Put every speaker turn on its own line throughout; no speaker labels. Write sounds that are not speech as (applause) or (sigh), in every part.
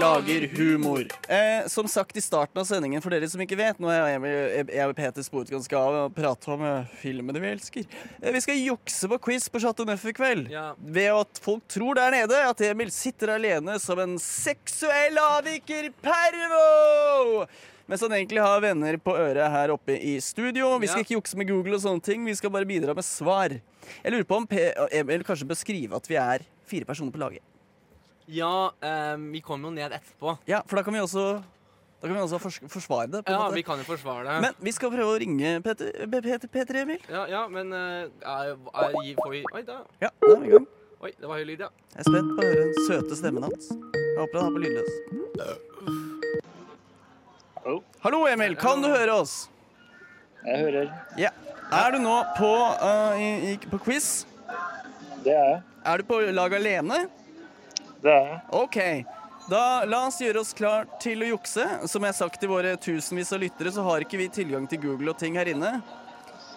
lager humor. Eh, som sagt i starten av sendingen, for dere som ikke vet Nå er jeg, jeg, jeg og Peter sporet ganske av å prate om eh, filmene vi elsker. Eh, vi skal jukse på quiz på Chateau Neuf i kveld.
Ja.
Ved at folk tror der nede at Emil sitter alene som en seksuell avviker pervo! Mens han egentlig har venner på øret her oppe i studio. Vi skal
Ja.
ikke jukse med Google og sånne ting, vi skal bare bidra med svar. Jeg lurer på om P Emil kanskje bør skrive at vi er fire personer på laget.
Ja, ehm, vi kommer jo ned etterpå.
Ja, for da kan vi også, da kan vi også fors forsvare det. på en
Ja,
måte.
Vi kan jo forsvare det.
Men vi skal prøve å ringe Peter, P- Peter, Peter Emil.
ja, ja, men eh, er, er, gi- får vi Oi, da.
Ja, da er vi i gang.
Oi, det var høy lyd, ja.
Jeg er spent på å høre den søte stemmen hans. Jeg håper han er på lydløs.
Hallo?
Hallo, Emil. Kan du høre oss?
Jeg hører.
Ja. Er du nå på, eh, i, i, på quiz?
Det er jeg.
Er du på lag alene?
Det er jeg.
Ok, da la oss gjøre oss klar til å jukse. Som jeg har sagt til våre tusenvis av lyttere, så har ikke vi tilgang til Google og ting her inne.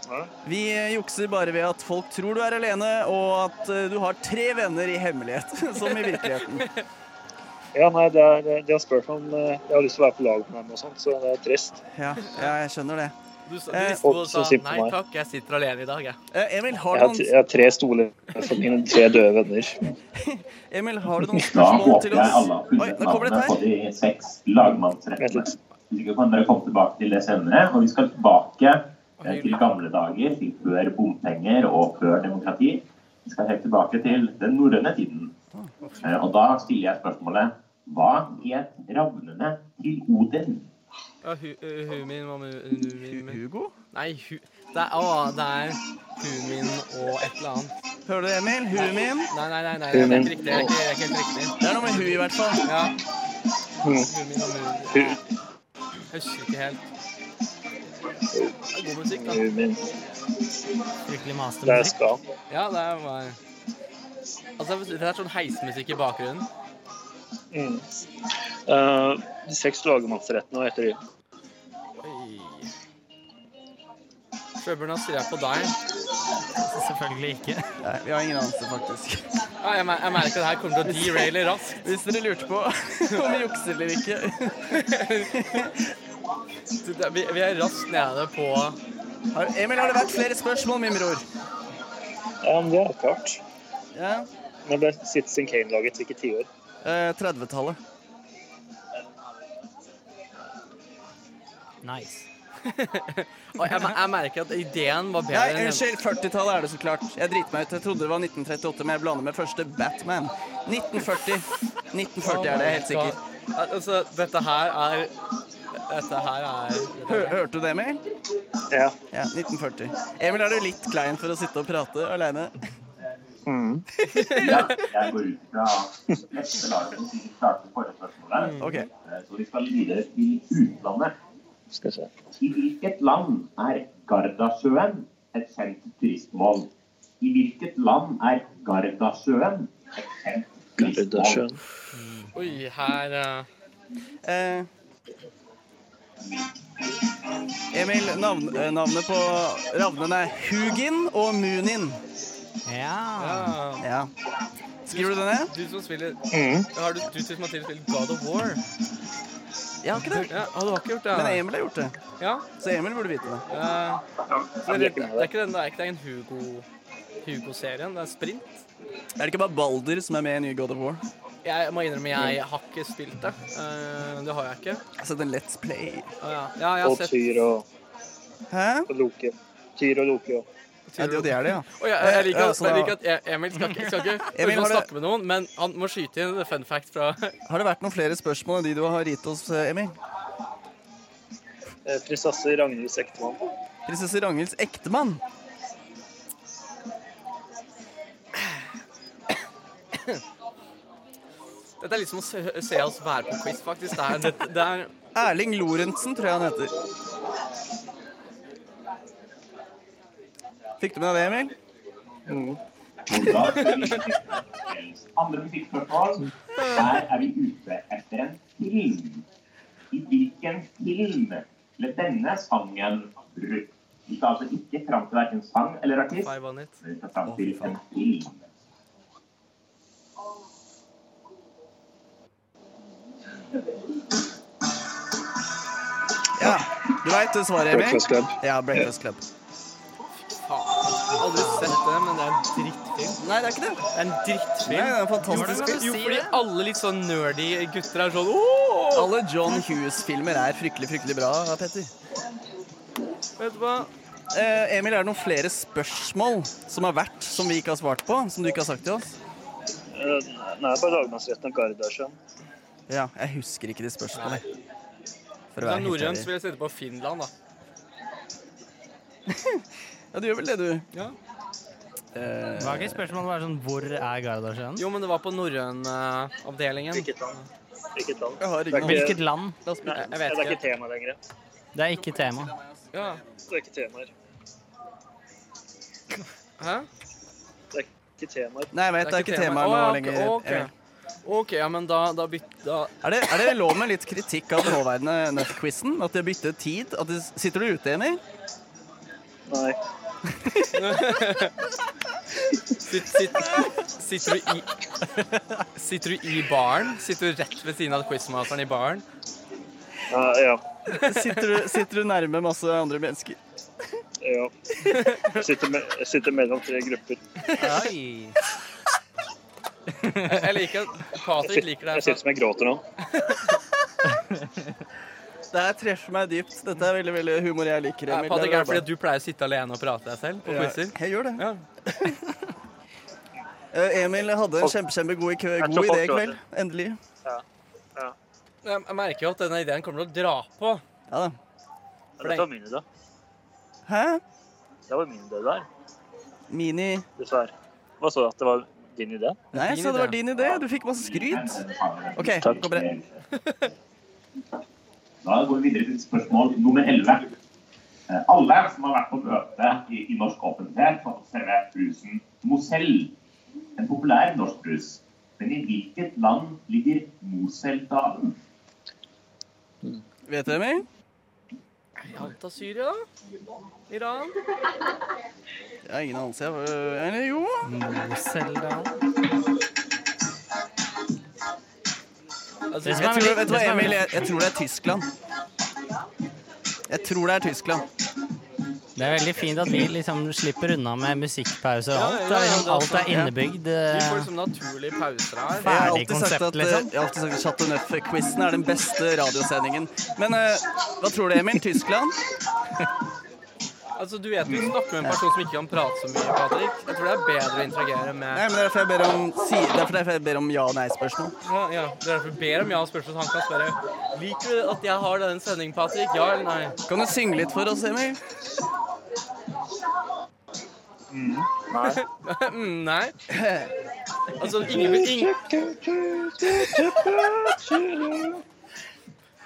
Nei.
Vi eh, jukser bare ved at folk tror du er alene, og at eh, du har tre venner i hemmelighet, (laughs) som i virkeligheten.
Ja, nei, det er, de har spurt om eh, jeg har lyst til å være på lag med dem og sånt, så det er trist.
Ja, ja jeg skjønner det.
Du, sa-
Eh,
du sto og
og
sa
så simper
nei
meg.
takk, jeg sitter alene i dag, jeg.
Eh, Emil,
Jeg
har du
har, t-
noen,
jeg har tre stoler for mine tre døde venner.
Emil, har du
(laughs)
noen
Da
spørsmål
håper
til
jeg
oss?
alle har
Oi,
funnet
nå kommer det
navnet
et
på
her.
de seks lagmannsrettene.
Vent
Hvis ikke kan dere komme tilbake til det senere. Og vi skal tilbake eh, til
hyggelig.
gamle dager, til før bompenger og før demokrati. Vi skal helt tilbake til den norrøne tiden. Eh, Og da stiller jeg spørsmålet Hva het ravnene til Odin?
Ja, hu, uh, hu min, mamu, nu min, min.
Hugo?
Nei, hu Det er, å, det er hu min og et eller annet.
Hører du, Emil? Huet min?
Nei, nei, nei, nei det
Hu
er
min.
ikke riktig. Det er ikke, det er ikke helt riktig.
Det er noe med huet i hvert fall.
Ja.
Mm.
Hu min og mu...
Hu,
Jeg husker ikke helt. Det er god musikk, da.
hu min.
Fryktelig
Det er
mastermusikk.
skam.
Ja, det er bare Altså, det er sånn heismusikk i bakgrunnen.
Mm. Eh, de seks lagmannsrettene, hva heter de?
Oi. Sjøbjørn, nå sier jeg på deg. Selvfølgelig ikke.
Nei, vi har ingen anelse, faktisk.
Ja, jeg, mer jeg merker at det her kommer til å deraile raskt.
Hvis dere lurte på (laughs) om vi jukser eller ikke.
Så det- Vi, vi er raskt nede på
Har- Emil, har det vært flere spørsmål, min bror?
Ja, men det er klart.
Ja.
Når ble Citizen Kane laget? Hvilket tiår?
Eh, 30-tallet.
(laughs) Og jeg, mer- jeg merker at ideen var bedre
Nei,
enn
unnskyld. 40-tallet er det så klart. Jeg driter meg ut. Jeg trodde det var 1938, men jeg blander med første Batman. 1940. 1940 er det, jeg er helt sikker.
Al- Altså, dette her er Dette her er
Hø hørte du det, Emil?
Ja.
Ja, 1940. Emil, er du litt klein for å sitte og prate aleine?
Mm.
Ja, jeg går ut fra neste lag som starter forrige spørsmålet.
Mm, OK.
Eh, Så vi skal videre til utlandet.
Skal vi se.
I hvilket land er Gardasjøen et kjent turistmål? I hvilket land er Gardasjøen et kjent turistmål?
Gardasjøen.
Oi, her eh,
Eh, Emil, navn, eh, navnet på ravnene er Hugin og Munin.
ja.
Ja. Skriver du det ned?
Du som spiller
Mm.
Har du, du som har til å spille God of War?
Jeg har ikke det.
Ja, du har ikke gjort det?
Men Emil har gjort det,
Ja.
så Emil burde vite det.
eh,
Ja,
Det
vi
er,
er ikke
det
med
er
der.
ikke den, det er ikke den Hugo Hugo-serien, det er sprint.
Er det ikke bare Balder som er med i nye God of War?
Jeg må innrømme,
Mm.
jeg har ikke spilt det. Eh, det har jeg ikke.
Jeg har sett en Altså, Let's Play.
Å, ja. ja, jeg har
Og
sett
Tyr og
Hæ?
og Loke. Tyr og Loke, ja.
Ja, det, det er det, ja.
Å, ja, jeg, liker,
Ja,
at-
sånn
jeg
da-
liker at E- Emil skal ikke, skal ikke
Emil,
skal
har
ikke
du-
snakke med noen, men han må skyte inn en fun fact fra
Har det vært noen flere spørsmål enn de du har gitt oss, Emil?
Eh, Prinsesse Ragnhilds ektemann.
Prinsesse Ragnhilds ektemann.
Dette er litt som å se, se oss være på quiz, faktisk. Det er, det, det er
Erling Lorentzen, tror jeg han heter. Fikk du med deg det, Emil?
Mm.
Og da skal vi til kveldens Andre musikkspørsmål. Her er vi ute etter en film. I hvilken film ble denne sangen brukt? Vi skal altså ikke fram til hverken sang eller artist.
Five on it.
Vi skal fram til en film.
Ja, du veit svaret, Emil?
Breakfast Club.
Ja, Breakfast Club.
Faen. Aldri sett det, men det er en drittfilm.
Nei, det er ikke det.
Det er en drittfilm.
Nei, det er en fantastisk
Jo,
film.
jo, fordi alle litt sånn nerdy gutter er sånn Åh!
Alle John Hughes-filmer er fryktelig, fryktelig bra, Petter.
Vet du hva?
Eh, Emil, er det noen flere spørsmål som har vært, som vi ikke har svart på? Som du ikke har sagt til oss?
Eh, Nei, bare lagmannsretten og sånn. Gardasjøen.
Ja, jeg husker ikke de spørsmålene. For å
Fra
være helt
norrønt så
ærlig.
vil jeg sette på Finland, da.
Ja, du gjør vel det, du.
Ja.
Eh,
Var ikke spørsmålet bare sånn Hvor er Gardasjøen?
Jo, men det var på eh, norrønavdelingen.
Hvilket land? Hvilket land?
jeg har
Det er
ingen
ikke-
Hvilket land?
La oss
Nei,
bytte.
Jeg vet
det er
ikke.
ikke tema lenger.
Det er ikke tema.
Ja.
Det er ikke temaer.
Hæ?
Det er ikke temaer.
Nei, jeg vet, det er ikke tema nå
Å, ja,
lenger.
ok,
Emil.
ok. OK, ja, men da, da bytter da.
Er det, er det lov med litt kritikk av den nåværende Nøff-quizen? At de har byttet tid? At de, sitter du ute, Emil?
Nei.
Sitt, sitt, sitter du i Sitter du i baren? Sitter du rett ved siden av quizmasteren i baren?
Nei, ja.
Sitter du, sitter du nærme masse andre mennesker?
ja. Jeg sitter, me jeg sitter mellom tre grupper.
Oi.
Jeg jeg liker at Patrick liker
Jeg
deg.
sitter som jeg gråter nå.
Det her treffer meg dypt. Dette er veldig veldig humor jeg liker.
Ja,
Emil.
Patrick
Det
er det
bra.
fordi du pleier å sitte alene og prate deg selv på
Ja,
quizer.
Jeg gjør det.
Ja.
Eh, Emil hadde en kjempe, kjempegod i kø-
Jeg tror
god idé i
folk
kveld. Endelig.
Jeg jeg merker jo at denne ideen kommer til å dra på.
Ja da.
Dette var min idé.
Hæ?
Det var min idé der,
Mini
dessverre. Hva så at det var din idé?
Nei, jeg
Din
sa det var
idé.
din idé. Du fikk masse skryt. OK,
Takk.
gå på det.
(laughs) Da går vi videre til spørsmål nummer 11. Eh, Alle som har vært på møte i, i norsk offentlighet, kan observere brusen Mosell, en populær norsk brus. Men i hvilket land ligger Mosell-dalen?
Vet du, Emil?
Janta Syria? Iran?
Jeg har ingen anelse. jeg. Øh, Eller jo
Moseldalen.
Altså,
Det
jeg
som er
tror,
veldig-
vet du hva,
det som er
Emil?
veldig-
Jeg, jeg tror det er Tyskland. Jeg tror det er Tyskland.
Det er veldig fint at vi liksom slipper unna med musikkpauser og
Ja,
alt.
ja,
Det er
ja,
liksom,
det er
alt er
sant, ja.
innebygd.
vi
eh,
får liksom naturlige pauser her.
Jeg har alltid
Ferdig
sagt at,
konsept,
øh,
liksom.
jeg har alltid sagt at Chateau Neuf-quizen er den beste radiosendingen. Men øh, hva tror du, Emil? Tyskland?
Altså, Du vet jo snakke med en person som ikke kan prate så mye, Patrick. Jeg tror det er bedre å
Nei,
interagere med
men det er derfor jeg ber om, si, det er derfor jeg ber om ja- og nei-spørsmål.
ja, ja. Det er derfor jeg ber om ja og spørsmål, så han kan spørre Liker du at jeg har denne sendingen, Patrick? Ja eller nei? (laughs)
Kan du synge litt for oss, Emil?
Nei.
mm, nei. Altså, ingen, ingen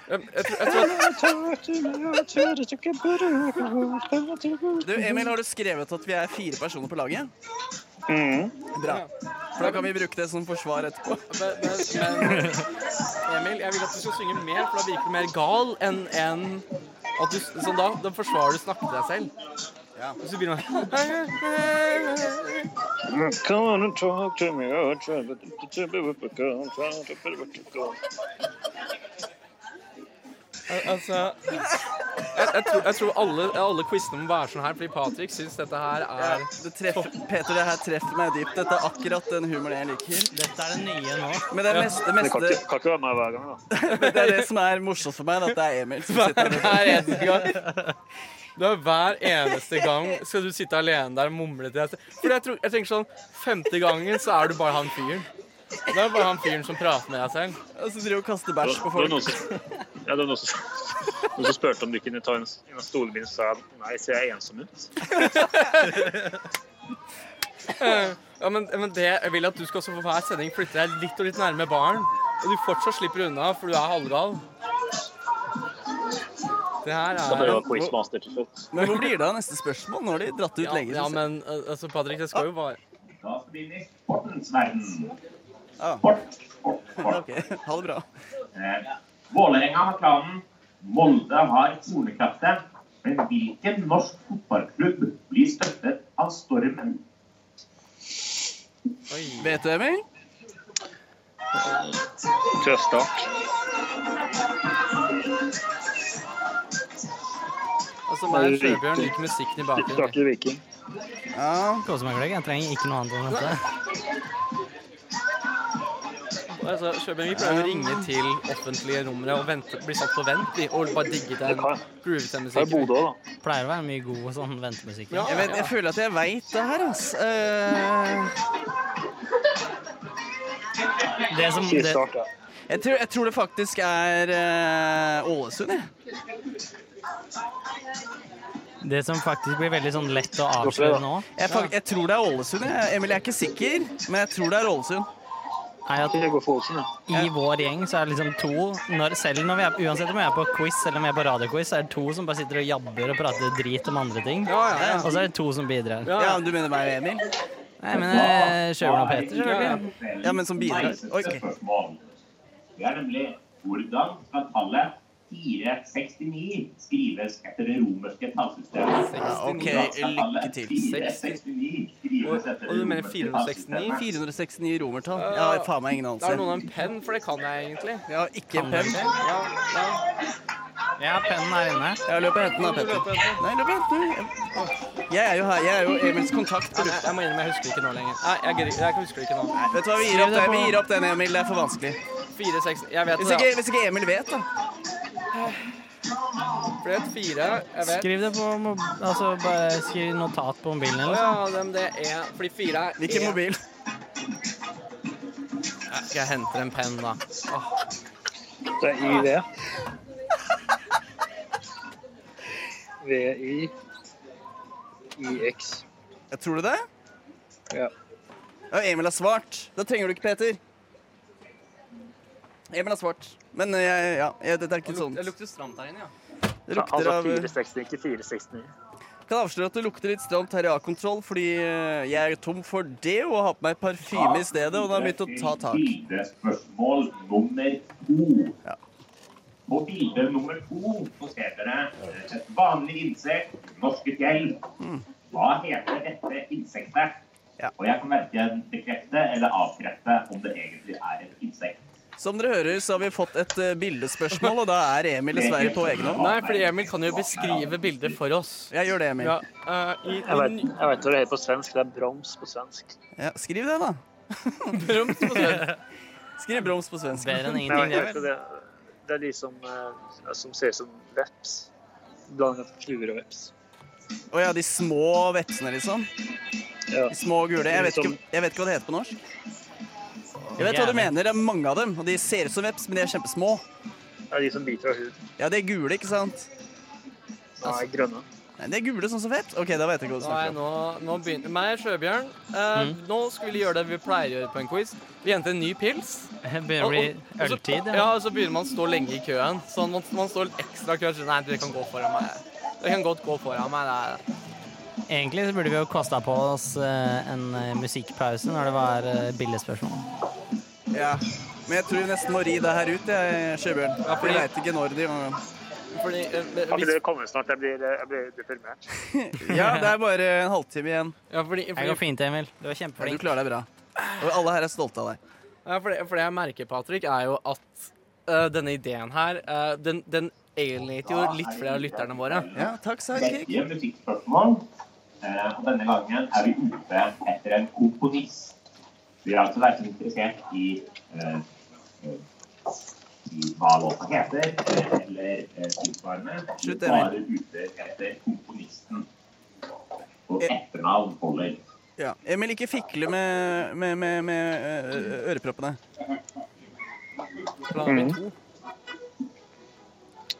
jeg, jeg, tror, jeg tror at
Du, Emil, har du skrevet at vi er fire personer på laget?
Mhm.
Bra. For da kan vi bruke det som forsvar etterpå.
men, men, men Emil, jeg vil at du skal synge mer, for da virker du mer gal enn enn at du, sånn da, da forsvarer du snakke til deg selv.
Ja.
Og så begynner man
Mm, Come on and talk to me. oh, try to- to- to be with the girl, try to be with the girl.
Al- Altså jeg, jeg, tror, jeg tror alle, alle quizene må være sånn her, fordi Patrick syns dette her er
Det treffer, Peter, det her treffer meg dypt. Dette er akkurat den humoren jeg liker.
Dette er det nye nå.
Men det, er mest, det,
Det kan
meste,
ikke, kan ikke være meg hver gang, da.
det er det som er morsomt for meg, da, at det er Emil som sitter der.
Hver eneste gang. Det er hver eneste gang skal du sitte alene der og mumle til deg selv. For jeg, tror, jeg tenker sånn Femte gangen så er du bare han fyren. Da er det bare han fyren som prater med deg selv.
Og så driver og kaster bæsj på
Det var
folk.
noen som, ja, det var noen som, (laughs) noen som spurte om du kunne ta en, en av stolene mine, så sa jeg nei, ser jeg ensom ut?
Ja, men, men det, Jeg vil at du skal også for hver sending flytte deg litt og litt nærme baren. Og du fortsatt slipper unna, for du er halvgal. Det her
Da ble
er
jeg quizmaster til slutt.
Men hvor blir det av neste spørsmål? Nå har de dratt det ut
Ja,
lenge.
ja
synes jeg.
men eh, altså, Patrick, det skal jo være
Da skal vi inn i sportens verden.
Ah.
Sport, sport, sport.
Ok, Ha det bra.
Eh, Vålerenga har klanen, Molde har Tornekraftet. Men hvilken norsk fotballklubb blir støttet av stormen?
Oi.
Vet du, Emil?
Trøstart.
Altså, meg og Sjøbjørn liker musikken i bakgrunnen.
Stakker Viking.
Ja.
Kåsemøklegg. Jeg trenger ikke noe annet enn dette.
Altså, Sjøbjørn, vi pleier å ringe til offentlige numre og vente, bli satt på vent vi, og bare digge den
kan-
groovete
Det er
musikken.
Bodø, da.
Pleier å være mye god sånn ventemusikk.
Ja.
Jeg, vet, jeg føler at jeg veit det her, ass. Eh,
Det som
Sier
det,
start, ja.
jeg, tror, jeg tror det faktisk er eh, Ålesund, jeg.
det som faktisk blir veldig sånn lett å
Hvorfor det, da?
avsløre nå,
Jeg, fak- jeg tror det er Ålesund, jeg. Emil, jeg er ikke sikker, men jeg tror det er Ålesund.
er at
Jeg går for Olsen, ja.
I vår gjeng så er det liksom to når, Selv når vi er, uansett om vi er på quiz eller om vi er på radioquiz, så er det to som bare sitter og jabber og prater drit om andre ting.
Ja, ja, ja.
Og så er det to som bidrar.
Ja,
Ja,
ja.
men Du mener meg og Emil?
Nei, men eh, Sjøren og Peter, selvfølgelig.
Ja, men som bidrar.
Nice
Ok.
spørsmål. Det er nemlig hvordan skal tallet 469 skrives etter det romerske tallsystemet?
Ja, OK,
Hvordan skal
lykke
tallet
til.
469 skrives etter
Og- og du
det
mener
romerske
469?
469 romertall. Jeg har faen meg ingen
Da er det noen av
anelse.
en penn, for det kan jeg egentlig.
Jeg har ikke en penn.
Ja, ja.
Ja, pennen er inne.
Jeg løper og henter den av
Du løper og
Petter.
henter
Nei, løp og hent den. Jeg er jo her. Jeg er jo Emils kontakt.
Nei, Jeg, jeg må innrømme, jeg husker ikke nå lenger. Nei, jeg, gidder ikke- jeg husker det ikke nå.
Vet du hva, Vi gir opp, det. Vi gir opp den, Emil. Det er for vanskelig.
469 Jeg vet
Hvis
det,
ikke,
ja.
hvis ikke Emil vet, da.
For det er et fire. Jeg vet.
Skriv det på mob- Altså, bare skriv notat på mobilen liksom.
Å Ja,
eller
dem, det er Fordi fire er
Hvilken
en.
mobil?
Ja, Skal jeg hente en penn, da? Åh.
Det er IV. VI IX.
Jeg tror du det?
Ja.
Ja, Emil har svart. Da trenger du ikke Peter. Emil har svart. Men eh, jeg, ja, jeg, dette er ikke sånn.
Det lukter stramt her inne, ja.
Det
Altså,
lukter av eh,
460, ikke 469.
Kan avsløre at det lukter litt stramt her i A-kontroll, fordi eh, jeg er tom for det og har på meg parfyme i stedet, og det har begynt å ta tak.
Bildespørsmål nummer to.
Ja.
På bilde nummer to så ser dere eh, et vanlig insekt, norske fjell. Hva heter dette insektet?
Mm. Ja.
Og jeg kan verken bekrefte eller avkrefte om det egentlig er et insekt.
Som dere hører, så har vi fått et eh, bildespørsmål, og da er Emil dessverre på egen hånd.
Nei, fordi Emil kan jo beskrive bilder for oss.
Jeg gjør det, Emil.
Ja, eh, i, i,
Jeg vet, jeg vet hva det heter på svensk. Det er broms på svensk.
Ja, skriv det, da.
Broms på svensk.
Skriv broms på svensk.
Bedre enn
Men
ingenting,
jeg
det
vet ikke,
vel.
det, det er de som, eh, som ser ut som veps. Blanding av fluer og veps.
Å ja, de små vepsene, liksom.
Ja.
De små gule. Jeg vet, ikke, jeg vet ikke hva det heter på norsk. Jeg vet hva du mener. Det er mange av dem. Og de ser ut som veps, men de er kjempesmå.
Det er de som biter av huden.
Ja, de er gule, ikke sant?
Nei, grønne.
Nei, de er gule sånn som veps. OK, da vet jeg ikke hva du
Nå, er jeg-
snakker om.
nå, nå begynner Meg og Sjøbjørn, eh,
Mm.
nå skal vi gjøre det vi pleier å gjøre på en quiz. Vi henter en ny pils.
Det Begynner å bli
og så,
øltid,
ja,
ja.
og så begynner man å stå lenge i køen. Sånn, man, man står litt ekstra i køen. så, Nei, dere kan gå foran meg. Dere kan godt gå foran meg. Det er,
Egentlig så burde vi jo kosta på oss eh, en eh, musikkpause når det var eh, billedspørsmål.
Ja. Men jeg tror vi nesten må ri det her ut, jeg, Sjøbjørn.
Ja, fordi-
Vi veit ikke når de
fordi, eh,
Kan ikke
hvis,
dere komme snart? Jeg blir, eh, jeg blir deprimert.
Ja, (laughs) det er bare en halvtime igjen.
ja, fordi,
Det
fordi,
går fint, Emil. Du er
Ja, Du
kjempeflink.
klarer deg bra. Og alle her er stolte av deg.
Ja, for det, for det jeg merker, Patrick, er jo at eh, denne ideen her, eh, den, den alienater jo litt flere av lytterne våre.
Ja, takk, sa Kik.
Begge musikkspørsmål. Eh, og denne gangen er vi ute etter en komponist. Vi er altså verken interessert i, eh, eh, i hva låta heter, eh, eller eh, tilsvarende. Vi
Slutt,
er
Emil.
bare ute etter komponisten. Og
Eh.
etternavn holder.
Ja. Emil, ikke fikle med, med, med, med ø- ø- øreproppene.
Plan nummer to.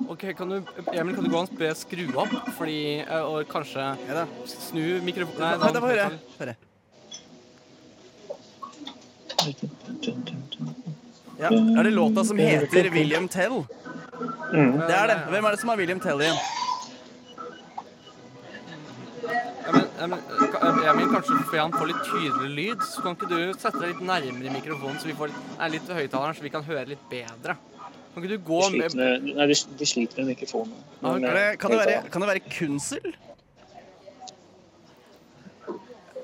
Ok, kan du, Emil, kan du gå og be skru opp? Fordi, eh, og kanskje
Ja da.
snu mikrofonen
Nei, da får vi høre. høre. Ja, er det låta som heter William Tell? Det er det. Hvem er det som har William Tell igjen?
Emil, Emil, eh, Emil, kanskje får han få litt tydeligere lyd? Så kan ikke du sette deg litt nærmere mikrofonen, så vi får litt, er litt høyttaleren, så vi kan høre litt bedre? Kan ikke du gå
De sliter
med
med, nei, de, de sliter med mikrofonen. eh,
Ah,
Er det, kan, det være, kan det være Kunsel?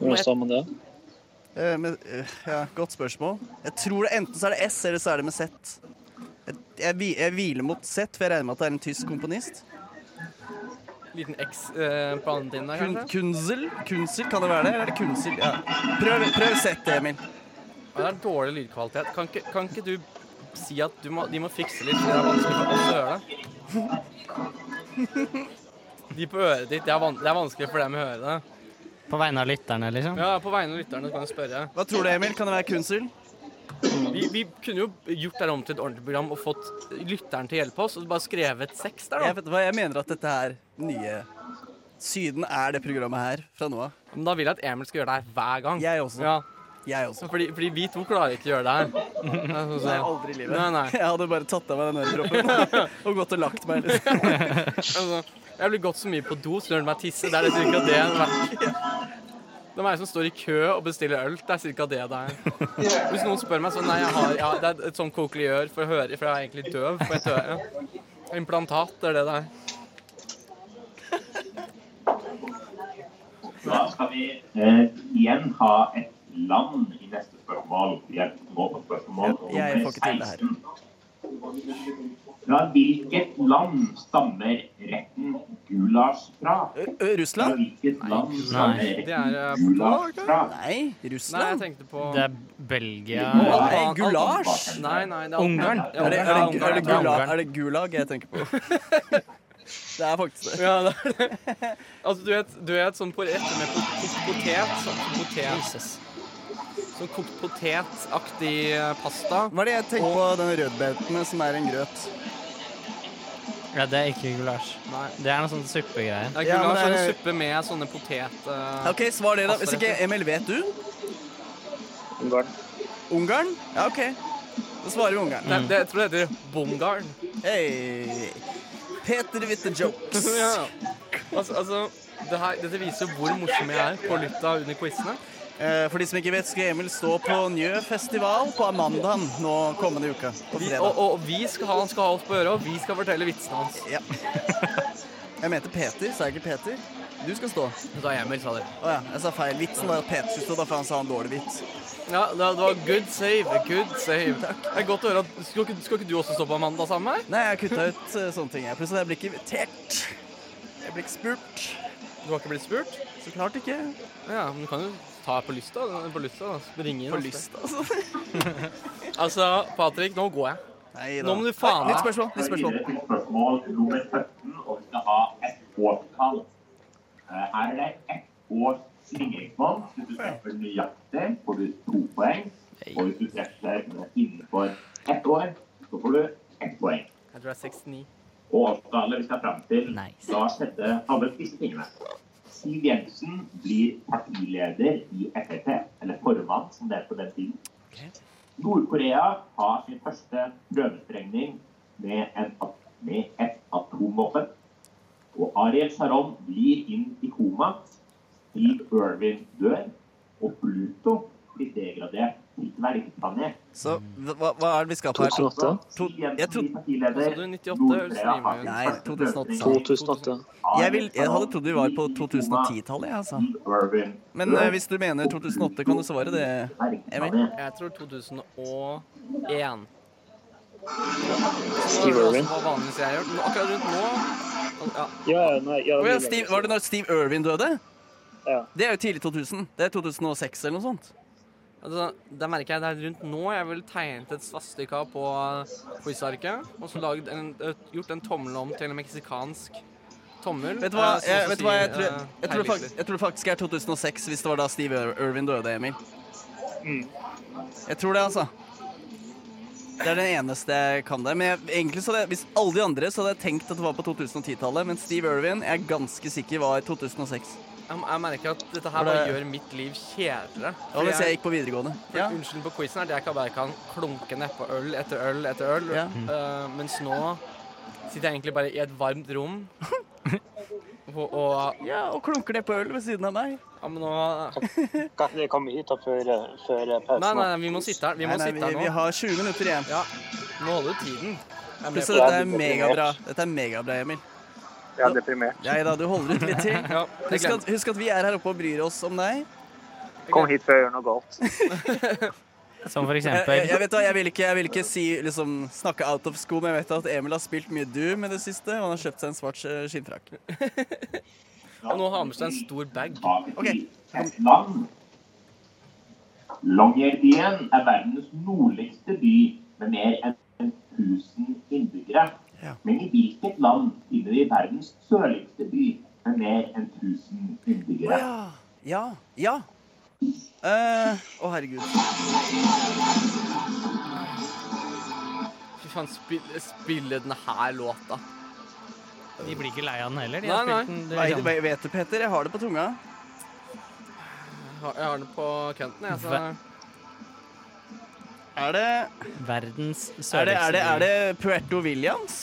Hvordan sa man det?
Eh, med, eh, ja, godt spørsmål. Jeg tror det Enten så er det S, eller så er det med Z. Jeg, jeg, hvi- jeg hviler mot Z, for jeg regner med at det er en tysk komponist.
Liten X eh, på andre tiden der,
Kun,
kanskje?
kunzel? Kunzel, kan det være det? Eller er det kunzel? Ja. Prøv, prøv Z, Emil.
Ja, det er dårlig lydkvalitet. Kan ikke, kan ikke du si at du må, de må fikse litt, for det er vanskelig for oss å høre det? De på øret ditt, det er, van det er vanskelig for dem å høre det.
På vegne av lytterne, liksom.
Ja, på vegne av lytterne kan jeg spørre.
Hva tror du, Emil? Kan det være kunzel?
Vi, vi kunne jo gjort det her om til et ordentlig program og fått lytteren til å hjelpe oss, og bare skrevet sex der,
Jeg
da.
vet hva jeg mener at dette her nye Syden er det programmet her fra nå av.
Men da vil jeg at Emil skal gjøre det her hver gang.
Jeg også.
Ja,
Jeg også.
fordi, fordi vi to klarer ikke å gjøre det
(laughs)
her. Det er sånn som-
Nei, aldri i livet.
Nei, nei.
Jeg hadde bare tatt av meg den
(laughs)
øreproppen og gått og lagt meg. Liksom.
Altså, jeg blir gått så mye på do, så det gjør meg tisse. Det er det cirka det en verk. Det er meg som står i kø og bestiller øl. Det er cirka det det er. Hvis noen spør meg sånn Nei, jeg har, jeg har, det er et sånn kokeliør for å høre, for jeg er egentlig døv på et øre. Implantat, det er det det er.
Da skal vi eh, igjen ha et land i neste spørsmål. Vi er nå på spørsmål
Jeg- jeg får ikke til det her.
16. Fra hvilket land stammer retten gulasj fra?
Ø, ø,
Fra
Russland?
hvilket land
Nei,
stammer
det er, eh,
retten gulasj fra?
Nei,
Nei, jeg
Russland?
tenkte på
Det er Belgia
Nei,
Alban-
gulasj.
Nei, nei, det er
Ungarn.
Ja,
Er det, er, det, er, det
Ungarn.
gula, er det gulag jeg tenker på? (laughs) Det er faktisk det.
Ja, det er det. Altså, du vet, du vet sånn på rette med pot- kokt potet sånn potet,
Jesus.
Sånn kokt potetaktig eh, pasta.
Hva er det jeg tenker på den rødbeltene som er en grøt?
Ja, det er ikke gulasj.
Nei.
Det er noe sånn suppegreier.
Det er
Ja, men
gulasj og
det
en
er-
suppe med sånne potet... eh,
OK, svar det, da. Hvis ikke Emil, vet du?
Ungarn.
Ungarn? Ja, OK. Da svarer vi Ungarn.
Nei, det, jeg tror det heter bongarn.
Hey. Peter with the jokes.
(laughs) (laughs) ja. altså, altså, det her, dette viser jo hvor morsom jeg er på lufta under quizene.
Eh, For de som ikke vet, skal Emil stå på Njø festival på Amandaen nå kommende uke. På
Vi,
fredag.
og, og vi skal ha, han skal ha oss på øret, og vi skal fortelle vitsene hans.
Ja. (laughs) Jeg mente Peter, sa jeg ikke Peter? Du skal stå. Å
Da Emil sa det.
ja, jeg sa feil. Vitsen var at Peter skulle stå, derfor han sa en dårlig vits.
Ja, det, det var good save. Good save. Det er godt å høre at Skal ikke, skal ikke du også stå på Amanda sammen med meg?
Nei, jeg kutta ut eh, sånne ting. jeg. Plutselig jeg blir ikke invitert. Jeg blir ikke spurt.
Du har ikke blitt spurt?
Så klart ikke.
Ja, men du kan jo ta på lysta. På lysta, da. Ringe inn.
På
altså.
lyst, altså.
Altså, Patrick, nå går jeg.
Nei,
Nå må du faen
Nytt
meg
spørsmål.
Vi
Nytt
skal
spørsmål.
videre til spørsmål nummer 17, og vi skal ha ett årstall. Eh, Her er det ett års slingringsmonn. Hvis du treffer nøyaktig, får du to poeng. Og hvis du treffer innenfor ett år, så får du ett poeng.
Jeg tror det er 69.
Og årstallet vi skal fram til,
Nice.
da skjedde alle disse tingene. Siv Jensen blir partileder i Frp, eller formann, som det het på den tiden. Nord-Korea har sin første prøvesprengning med, en, at- med et atomvåpen. Og Ariel Sharon blir inn i koma. Steve Irwin dør. Og Pluto blir degradert til dvergplanet.
Så hva, hva er det vi skal på her?
2008.
To- jeg trodde-
Hva sa du, 98 eller
Nei, 2008. sa han.
2008.
Jeg, vil, jeg hadde trodd vi var på 2010-tallet, jeg, altså. Men eh, hvis du mener 2008, kan du svare det, Emil?
Jeg tror 2001.
Steve Irwin.
Hva vanligvis jeg gjør. Nå- Akkurat rundt nå Ja,
Ja, ja, nei, ja,
Å
det
ja,
blir
Steve,
lenge
var det når Steve Irwin døde?
siden. ja.
Det er jo tidlig 2000. Det er 2006 eller noe sånt.
altså, Da merker jeg det er rundt nå jeg ville tegnet et svastika på quizarket. Og så laget en, et- gjort en tommel om til en meksikansk tommel.
Vet du hva,
eh, som
jeg,
også
vet du hva, jeg,
sier,
tror,
eh,
jeg, tror det
feilviser.
fakt, jeg tror det faktisk er 2006, hvis det var da Steve Ir- Irwin døde, Emil. Jeg tror det, altså. Det er den eneste jeg kan der. Men jeg, egentlig så hadde jeg, hvis alle de andre, så hadde jeg tenkt at det var på 2010-tallet. Men Steve Irwin jeg er ganske sikker var i 2006.
Jeg, jeg merker at dette
Var
her
det-
bare gjør mitt liv kjedeligere.
Det var
Fordi
hvis jeg gikk på videregående.
for
Ja.
Unnskyld på quizen her, det er ikke bare jeg kan klunke nedpå øl etter øl etter øl.
Ja.
Eh, mens nå sitter jeg egentlig bare i et varmt (laughs) rom. og, og
ja, og klunker det på øl ved siden av meg.
ja, men nå
Kan ikke dere komme hit da før, før pausen?
Nei, nei, nei, vi må sitte her. Vi
Nei,
må
nei,
sitte her
vi,
nå.
vi har 20 minutter igjen.
Ja, vi må holde ut tiden. Jeg er med
Pluss
på
at dette
det.
er megabra. Dette er megabra, Emil.
Jeg er deprimert.
Nei da, du holder ut litt til.
Ja, jeg
Husk at,
glemte.
husk at vi er her oppe og bryr oss om deg. (laughs)
Kom hit før jeg gjør noe galt.
Som
Eh,
for
Jeg, Eh, jeg, jeg
eksempel
vet da, jeg vil ikke, jeg vil ikke si, liksom, snakke out of school, men jeg vet at Emil har spilt mye Doom i det siste, og han har kjøpt seg en svart eh, skinnfrakk.
Og nå har han med seg en stor bag.
Ok.
Et land. Longyearbyen er verdens nordligste by med mer enn 1000 innbyggere.
Ja.
Men i hvilket land finner vi verdens sørligste by med mer enn 1000 innbyggere?
Ja. Ja. ja. Eh, å, herregud.
Fy faen, spille, spille den her låta.
De blir ikke lei av den heller. De
Nei,
har
nei.
spilt den
Nei,
liksom,
du vet det, Peter. Jeg har det på tunga.
Jeg har, jeg har den på kønten, jeg, så
Er det
verdens
Er det, er det, er
sørligste by.
det Puerto Williams?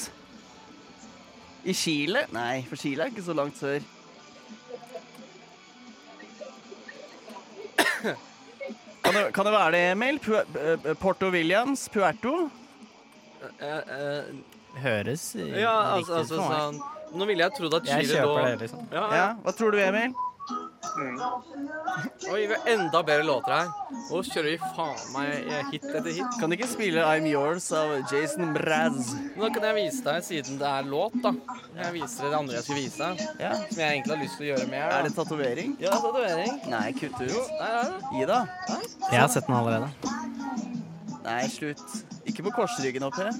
I Chile? Nei, for Chile er ikke så langt sør. Kan det, kan det være det, Emil? Pu eh, Porto Williams? Puerto?
eh, eh,
Høres eh,
Ja, altså,
riktig ut
altså
for meg.
sånn Nå ville jeg trodd at
Jeg
Chile lå
kjøper det, liksom.
Ja, ja.
Ja, Hva tror du, Emil?
Oi, vi har enda bedre låter her. Nå kjører vi faen meg eh, hit etter hit.
Kan du ikke spille I'm Yours av Jason Mraz?
Nå kan jeg vise deg, siden det er låt, da. Jeg viser deg det andre jeg skulle vise deg.
Ja.
Som jeg egentlig har lyst til å gjøre med
Er
her.
det
Da.
tatovering?
Ja, tatovering.
Nei, kutt ut.
Der er det.
Gi da.
Jeg har sett den allerede.
Nei, slutt. Ikke på korsryggen opp
(laughs)
her.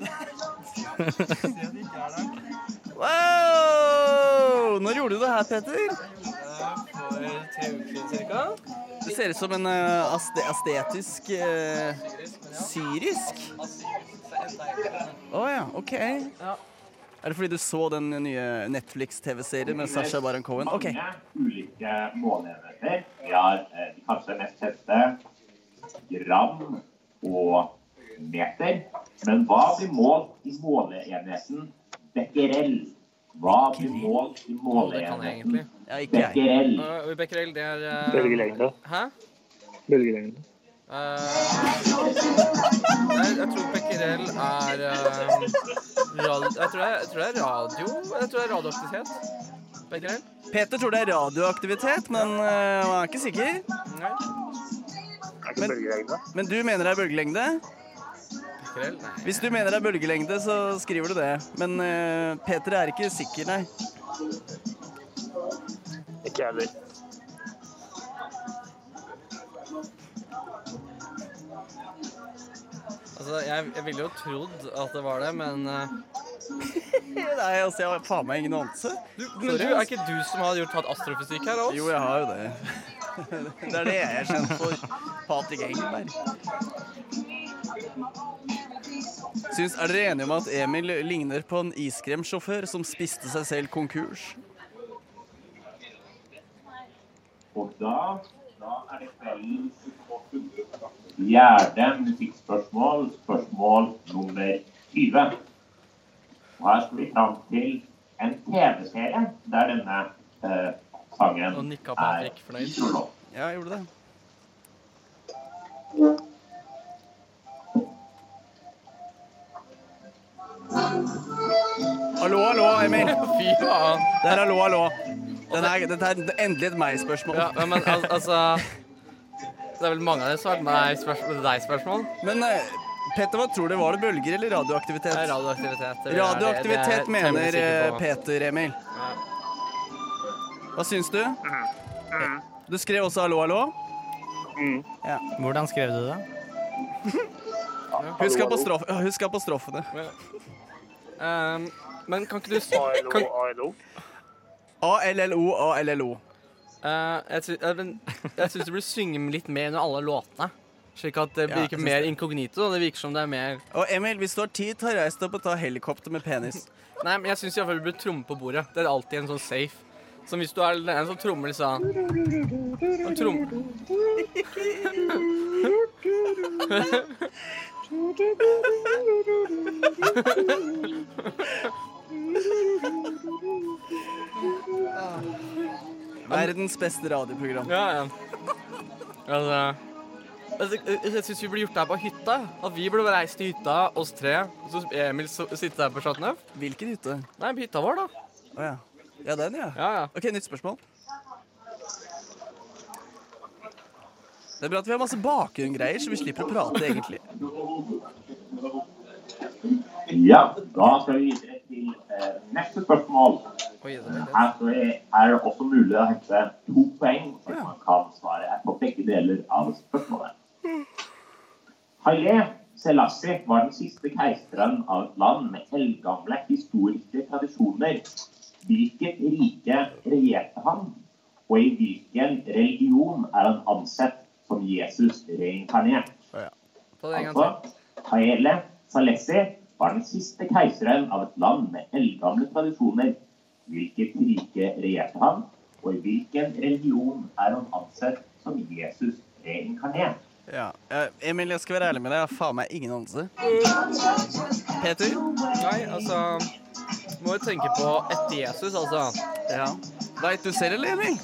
Wow! Når gjorde du det her, Peter?
For tre uker siden cirka.
Det ser ut som en eh, aste astetisk eh, syrisk. Å ja, OK.
Ja.
Er det fordi du så den nye Netflix-TV-serien med Sasha Baron Cohen? OK.
Mange ulike måleenheter. Vi har eh, de kanskje mest kjente gram og meter. Men hva blir målt i måleenheten becquerel? Hva blir målt i
Det kan jeg
måleenheten
egentlig.
Ja, ikke jeg.
becquerel?
Uh, Becquerel, det er eh,
Bølgelengde.
Hæ?
Bølgelengde.
Eh, nei, jeg tror Becquerel er eh, rad, jeg, tror det, er- jeg tror det er radio. Jeg tror det er radioaktivitet. Becquerel?
Peter tror det er radioaktivitet, men eh, han er ikke sikker.
Nei.
Er ikke bølgelengde?
Men du mener det er bølgelengde?
Becquerel? Nei.
Hvis du mener det er bølgelengde, så skriver du det. Men eh, Peter er ikke sikker, nei.
Ikke jeg heller.
Altså, jeg, jeg ville jo trodd at det var det, men eh,
Nei, altså, jeg har faen meg ingen anelse.
du, Men du, er ikke du som har gjort tatt astrofysikk her av oss?
Jo, jeg har jo det. (laughs) Det er det jeg er kjent for. Patrick Engelberg. Syns, er dere enige om at Emil ligner på en iskremsjåfør som spiste seg selv konkurs?
Og da, da er det kveldens fjerde musikkspørsmål, spørsmål nummer 20. Og her skal vi fram til en TV-serie der denne eh, sangen
Nå nikka Patrick fornøyd.
solo.
Ja, jeg gjorde det. Hallo, hallo, Emil.
Fy faen.
Det er hallo, hallo. Den er, dette er endelig et meg-spørsmål.
Ja, men al altså Det er vel mange av dere som har vært med deg spørsmål.
Men eh, Petter, hva tror du? Var det bølger eller
Det er
radioaktivitet?
radioaktivitet. det er- det er jeg
Radioaktivitet
temmelig
mener
sikker
eh,
på.
Peter Emil.
Ja.
Hva syns du? Du skrev også 'hallo, hallo'.
Hvordan skrev du det?
Husk han på, strof ja, husk han på strofene.
Ehm, men kan ikke du s- kan,
ALO.
A-L-L-O, A-L-L-O.
Eh, jeg sy- eh, men Jeg syns du burde synge litt mer under alle låtene. Slik at det
Ja,
virker
jeg syns
mer
det.
inkognito. og Det virker som det er mer
Og Emil, hvis du har tid, ta reis deg opp og ta helikopter med (laughs) penis.
Nei, men jeg syns iallfall du burde tromme på bordet. Det er alltid en sånn safe. Som hvis du er en som trommer litt sånn som trom-
Verdens beste radioprogram.
Ja, ja. Altså Altså, jeg jeg syns vi burde gjort det her på hytta. At vi burde reist til hytta, oss tre. Og så Emil so- sitte der på Chateauneuf.
Hvilken hytte?
Nei, på hytta vår, da.
Å ja. Ja, den, ja.
Ja, ja.
OK, nytt spørsmål. Det er bra at vi har masse bakgrunnsgreier, så vi slipper å prate, egentlig.
Ja, da skal vi videre til eh, neste spørsmål.
Oi, det var det.
Her tror jeg Altså, er det også mulig å hente to poeng, så man kan svare på begge deler av spørsmålet. Haile Selassie var den siste keiseren av et land med eldgamle historiske tradisjoner. Hvilket rike regjerte han, og i hvilken religion er han ansett som Jesus reinkarnert?
Ta det en gang
Altså,
til.
Haile Salesi var den siste keiseren av et land med eldgamle tradisjoner. Hvilket rike regjerte han, og i hvilken religion er han ansett som Jesus reinkarnert?
Ja. eh, Emil, jeg skal være ærlig med deg. Jeg har faen meg ingen anelse. Peter?
Nei, altså Må jo tenke på et Jesus, altså.
Ja. Veit du selv, eller, Emil?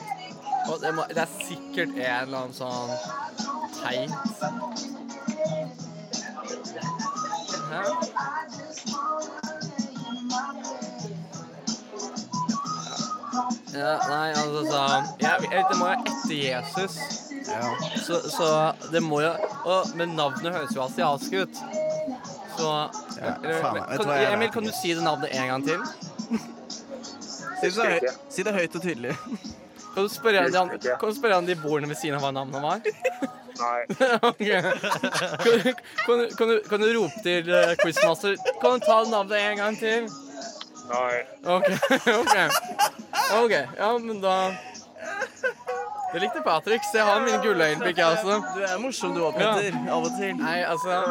Og det, må, det er sikkert en eller annen sånn teit Hæ? Ja, nei, altså så, jeg, jeg, vet, Det må jo etter Jesus.
Ja.
Så, så det må jo og, Men navnet høres jo asiatisk ut. Så
Ja,
eller-
faen, vet du
kan,
hva, jeg
Emil,
vet
kan du
ikke.
si det navnet en gang til?
Si det, høy, si det høyt og tydelig.
Kan du spørre han, de, an-
Husker ikke.
kan du spørre han de bordene ved siden av hva navnet var?
Nei.
(laughs) Ok. Kan, du- kan, du- kan, du, kan du rope til eh, quizmaster Kan du ta navnet en gang til?
Nei.
OK. (laughs) ok Ok, Ja, men da Det likte Patrick. Se, jeg har mine gulløyeblikk, jeg også.
Du er morsom, du òg,
Ja.
Peter. Av og til.
altså. Nei, altså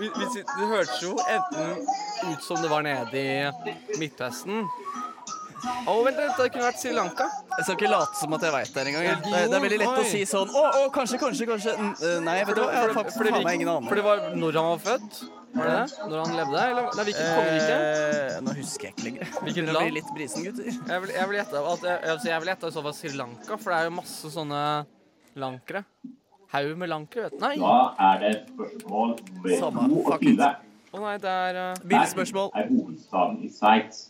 vi, vi, sit- Det hørtes jo enten ut som det var nede i Midtvesten Å, vent litt, det kunne vært Sri Lanka.
Jeg skal ikke late som at jeg veit det engang. jeg. Det, er- det er veldig lett å si sånn Å, å kanskje, kanskje, kanskje N- eh, Nei, vet du hva, jeg har
For det- for
faktisk
det-
faen meg ingen aning.
For det var når han var født? Var det det? Når han levde? Eller nei, hvilket kongerike?
Eh, nå husker jeg ikke lenger.
Hvilket
Det
land?
blir litt brisen, gutter.
Jeg vil, jeg vil gjette at jeg, altså jeg vil gjette i så fall Sri Lanka, for det er jo masse sånne lankere. Haug med lankere, vet du. Nei!
Da er det spørsmål nummer
Samme, fuck it.
22.
Å nei, det er eh,
Billedspørsmål.
Bern er hovedstaden i Sveits,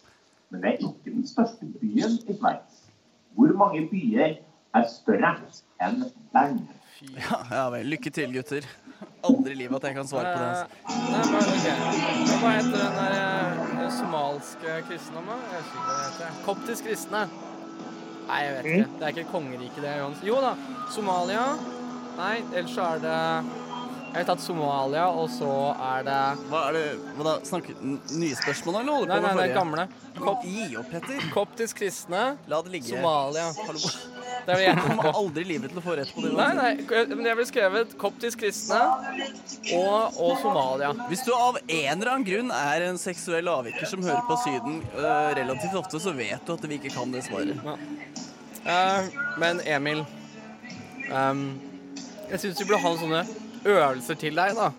men det er ikke den største byen i Sveits. Hvor mange byer er større enn Bern?
Ja, ja vel. Lykke til, gutter. Aldri i livet at jeg kan svare på det. altså.
eh, Nei, men ok. Hva heter den der eh, somalske kristendommen? Jeg husker ikke hva det heter. Koptisk kristne. Nei, jeg vet ikke. Det er ikke et kongerike, det. Johans. Jo da, Somalia. Nei, ellers så er det Jeg vet at Somalia, og så er det
Hva er det Hva da? Snakker n- nye spørsmål, eller holder du
Nei,
på
nei,
med
nei,
forrige?
gamle. Kop,
Gi opp, Petter.
koptisk kristne.
La det ligge.
Somalia.
Hallo.
Det er det jeg
Du
tenker
kommer (laughs)
på.
aldri i livet til å få rett på det.
Nei,
uansett.
nei, k- men jeg ville skrevet koptisk kristne og, og Somalia.
Hvis du av en eller annen grunn er en seksuell avviker som hører på Syden øh, relativt ofte, så vet du at vi ikke kan det svaret.
Eh, men Emil, ehm, jeg syns du burde ha noen sånne øvelser til deg, da.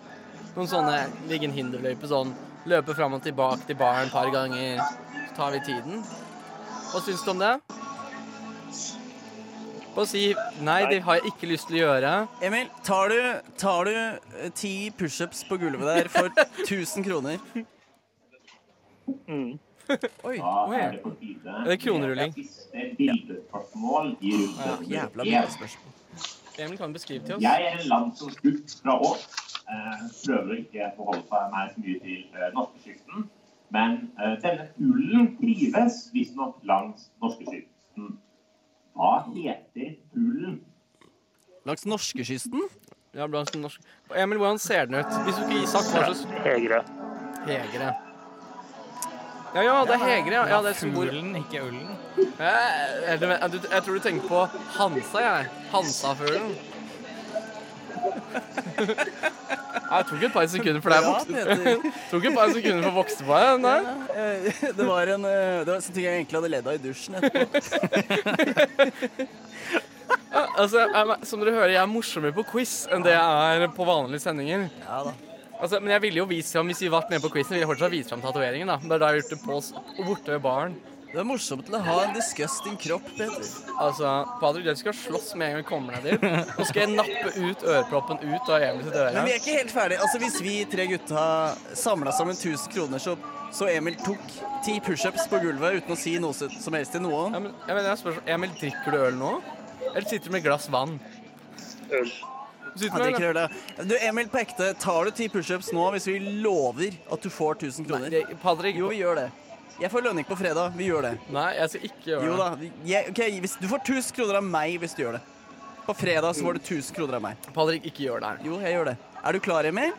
Noen sånne ligge en hinderløype sånn, løpe fram og tilbake til baren et par ganger, så tar vi tiden. Hva syns du om det? Bare si nei, det har jeg ikke lyst til å gjøre.
Emil, tar du, tar du øh, ti pushups på gulvet der for 1000 kroner? (laughs)
Mm.
Oi,
Da
oi.
er det på tide
Er det kronerulling?
med Siste bildespørsmål i runde
Ja, jævla
nummer
mye
én.
spørsmål.
Emil kan beskrive til oss.
Jeg er en landsomskutt fra Ås. Eh, prøver ikke å forholde seg meg så mye til eh, norskekysten. Men eh, denne fuglen trives visstnok langs norskekysten. Hva heter fuglen?
Langs norskekysten?
Ja, blant annet norsk. Emil, hvordan ser den ut? Hvis du ikke gir sagt hva slags
Hegre.
Hegre. Ja, ja, det er Hegre, ja. ja det er som bor
Fuglen, ikke ullen.
Eh, eller, men, du- Jeg tror du tenker på Hansa, jeg. Hansafuglen. (laughs) Nei, Det tok et par sekunder for deg å
Ja,
vokse
Peter. (laughs)
Det tok et par sekunder for å vokse på deg. den der.
Eh, Det var en øh, Det var sånn ting jeg egentlig hadde ledd av i dusjen etterpå.
Ja, altså, jeg, men, som dere hører, jeg er morsommere på quiz enn det jeg er på vanlige sendinger.
Ja da.
Altså, men jeg ville jo vist fram hvis vi var med på quizen, ville jeg fortsatt vist fram tatoveringen. da. Det er da jeg har gjort det på s- borte ved baren.
Det er morsomt å ha en disgusting kropp, Peter.
Altså, Patrick, du skal slåss med en gang vi kommer ned dit. Nå skal jeg nappe ut øreproppen ut av Emil sitt øre.
Men vi er ikke helt ferdige. Altså, hvis vi tre gutta samla sammen 1000 kroner, så, så Emil tok ti pushups på gulvet uten å si noe som som helst til noen.
Ja, men, jeg mener, jeg spør, Emil, drikker du øl nå? Eller sitter du med et glass vann?
Øl.
Sitter
Han
med,
drikker øl, ja. Du, Emil, på ekte, tar du ti pushups nå hvis vi lover at du får 1000
Nei,
kroner?
det, Patrick,
Jo, vi gjør det. Jeg får lønning på fredag. Vi gjør det.
Nei, jeg skal ikke gjøre
Jo
det.
da. vi- Jeg, ok, hvis, du får 1000 kroner av meg hvis du gjør det. På fredag så får du 1000 kroner av meg.
Patrick, ikke gjør det her.
Jo, jeg gjør det. Er du klar, Emil?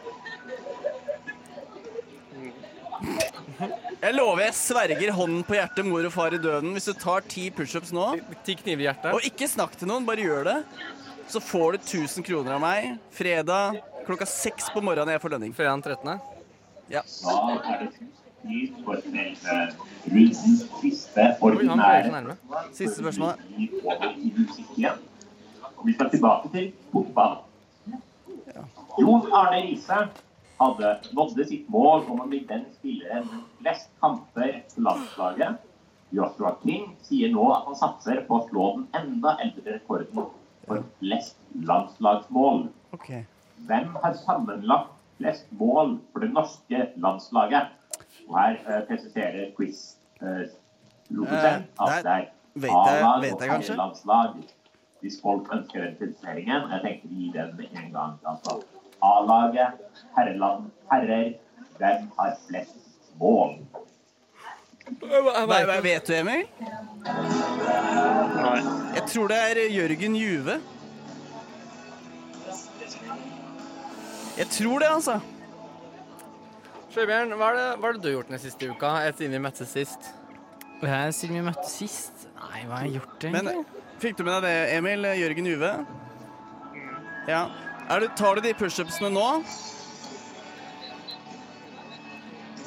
Jeg lover, jeg sverger hånden på hjertet, mor og far i døden. Hvis du tar ti pushups nå,
Ti kniver i hjertet.
og ikke snakk til noen, bare gjør det, så får du 1000 kroner av meg fredag klokka seks på morgenen. Jeg får lønning.
Fredag den 13.
Ja.
Da er det tid for selve rundens eh, siste ordinære
Oi, han ble så
spørsmål.
Siste spørsmål.
Vi gikk over i musikk igjen. Og vi skal tilbake til fotball. Jon Arne Riise hadde nådde sitt mål om å bli den spilleren med flest kamper etter landslaget. Joshua King sier nå at han satser på å slå den enda eldre rekorden for flest landslagsmål.
Ok.
Hvem har sammenlagt flest mål for det norske landslaget? Og her eh, presiserer quiz-produsent
Eh,
at det er
vet jeg-
A-lag
vet
og
jeg kanskje?
herrelandslag. Hvis folk ønsker den presiseringen, jeg tenkte vi gir den med en gang. Altså A-laget, herreland, herrer. Hvem har flest mål?
Nei, hva vet du, Emil?
Nei.
Jeg tror det er Jørgen Juve. Jeg tror det, altså.
Sjøbjørn, hva er, det, hva er det du har gjort den siste uka? Etter siden vi møttes sist?
Eh, Siden vi møttes sist Nei, hva har jeg gjort,
Men
egentlig?
fikk du med deg det, Emil? Jørgen Juve? Ja. Er du, tar du de pushupsene nå?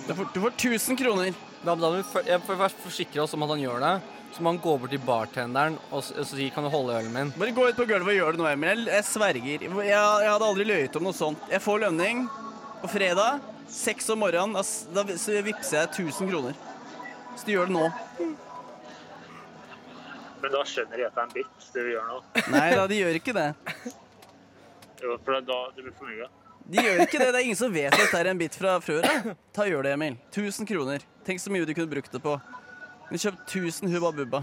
Du får, du får 1000 kroner.
Da, da, må vi før- jeg får først forsikre oss om at han gjør det. Så må han gå bort til bartenderen og, s- og si kan du holde ølen min.
Bare gå ut på gulvet og gjør det nå, Emil. Jeg, jeg sverger. Jeg, jeg hadde aldri løyet om noe sånt. Jeg får lønning på fredag. Seks om morgenen. Da, s- da så vippser jeg 1000 kroner. Så du gjør det nå.
Men da skjønner jeg at det er en bit, det vi gjør nå.
Nei da, de gjør ikke det.
Jo, for da det blir for mye.
De gjør ikke det. Det er ingen som vet at dette er en bit fra før. da. Ta og Gjør det, Emil. 1000 kroner. Tenk så mye du kunne brukt det på. Du kjøpt 1000 Hubba Bubba.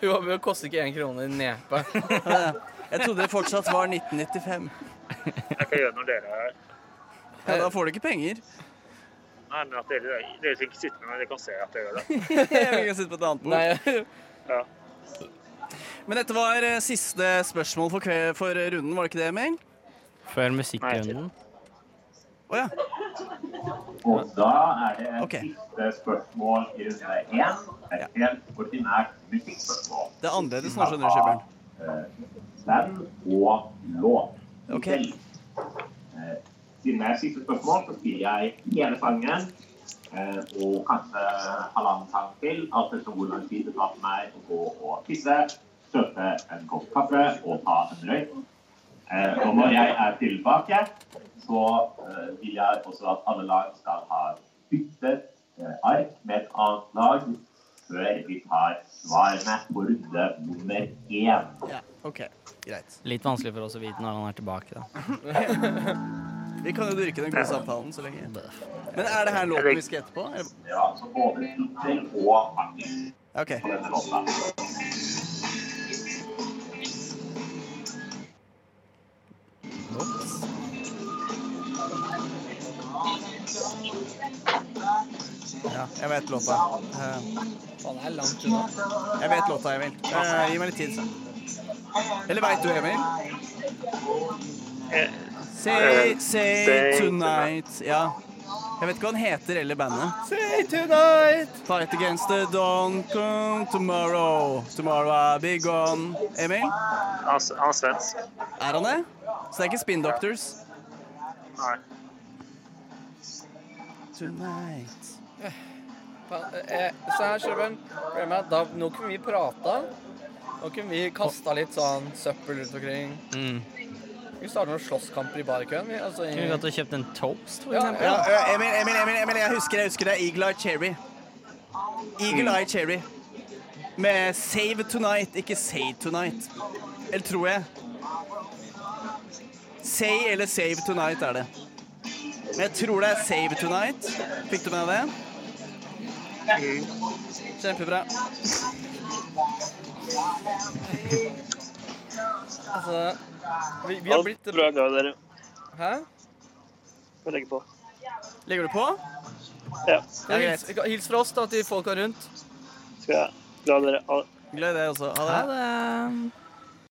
Hun har- hun koster ikke én krone i (laughs) nepe.
Ja, ja. Jeg trodde det fortsatt var 1995.
Jeg kan gjøre når dere er her.
Ja, Da får du ikke penger.
Nei, men at dere, dere skal ikke sitte med meg, dere kan se at jeg gjør det.
Jeg vil ikke sitte på et annet bord.
Nei,
Ja.
Men dette var eh, siste spørsmål for, kve for runden, var det ikke det, Emil?
Før musikkrunden.
Å ja.
Og da er det
Ok.
siste spørsmål i runde én. Et helt ordinært musikkspørsmål.
Det er annerledes nå, skjønner du, Skipper'n.
Band og låt.
Ok.
Selv. Eh, Siden det er siste spørsmål, så spiller jeg hele sangen. eh, Og kanskje halvannen sang til. Alt etter hvor lang tid det tar for meg å gå og tisse, kjøpe en kopp kaffe og ta en røyk. Eh, Og når jeg er tilbake, så eh, vil jeg også at alle lag skal ha byttet eh, ark med et annet lag før vi tar svarene på runde nummer én.
Ja, OK. Greit.
Litt vanskelig for oss å vite når han er tilbake, da.
Vi kan jo dyrke den gode samtalen så lenge. Men er det her låten vi skal etterpå? eller?
Ja, så både tittel og artist
Ja, OK.
på denne låta.
Ja, jeg vet låta. Eh,
faen, det er langt unna.
Jeg vet låta, Emil. Eh, gi meg litt tid, så. Eller veit du, Emil? Say, say
Say
tonight. Ja. Jeg vet ikke hva den heter eller bandet.
Say tonight!
Fight against the dawn, come tomorrow. Tomorrow I'll be gone. Emil?
Han, han er svensk.
Er han det? Så det er ikke Spin Doctors?
Nei.
Tonight.
Faen, eh, Se her, Sjøbjørn. Gleder meg. Da, nå kunne vi prata. Nå kunne vi kasta litt sånn søppel rundt omkring.
Mm.
Vi starter noen slåsskamper i barkøen. Vi, altså,
Kunne vi
i,
gått og kjøpt en toast, for
Ja,
eksempel?
Ja, ø, Emil, Emil, Emil, Emil, jeg husker, jeg husker det. Eagle Eye Cherry. Eagle Eye Cherry. Med Save Tonight, ikke Say Tonight. Eller tror jeg. Say eller Save Tonight er det. Men jeg tror det er Save Tonight. Fikk du med deg det? Kjempebra.
Altså, vi, vi
Ha
har
det
blitt
bra, glad i dere.
Hæ?
Får legge på.
Legger du på?
Ja.
Ja, hils, hils fra oss da til folka rundt.
Skal jeg. Glad i dere. Ha det.
Glad i deg også. Ha det.
det.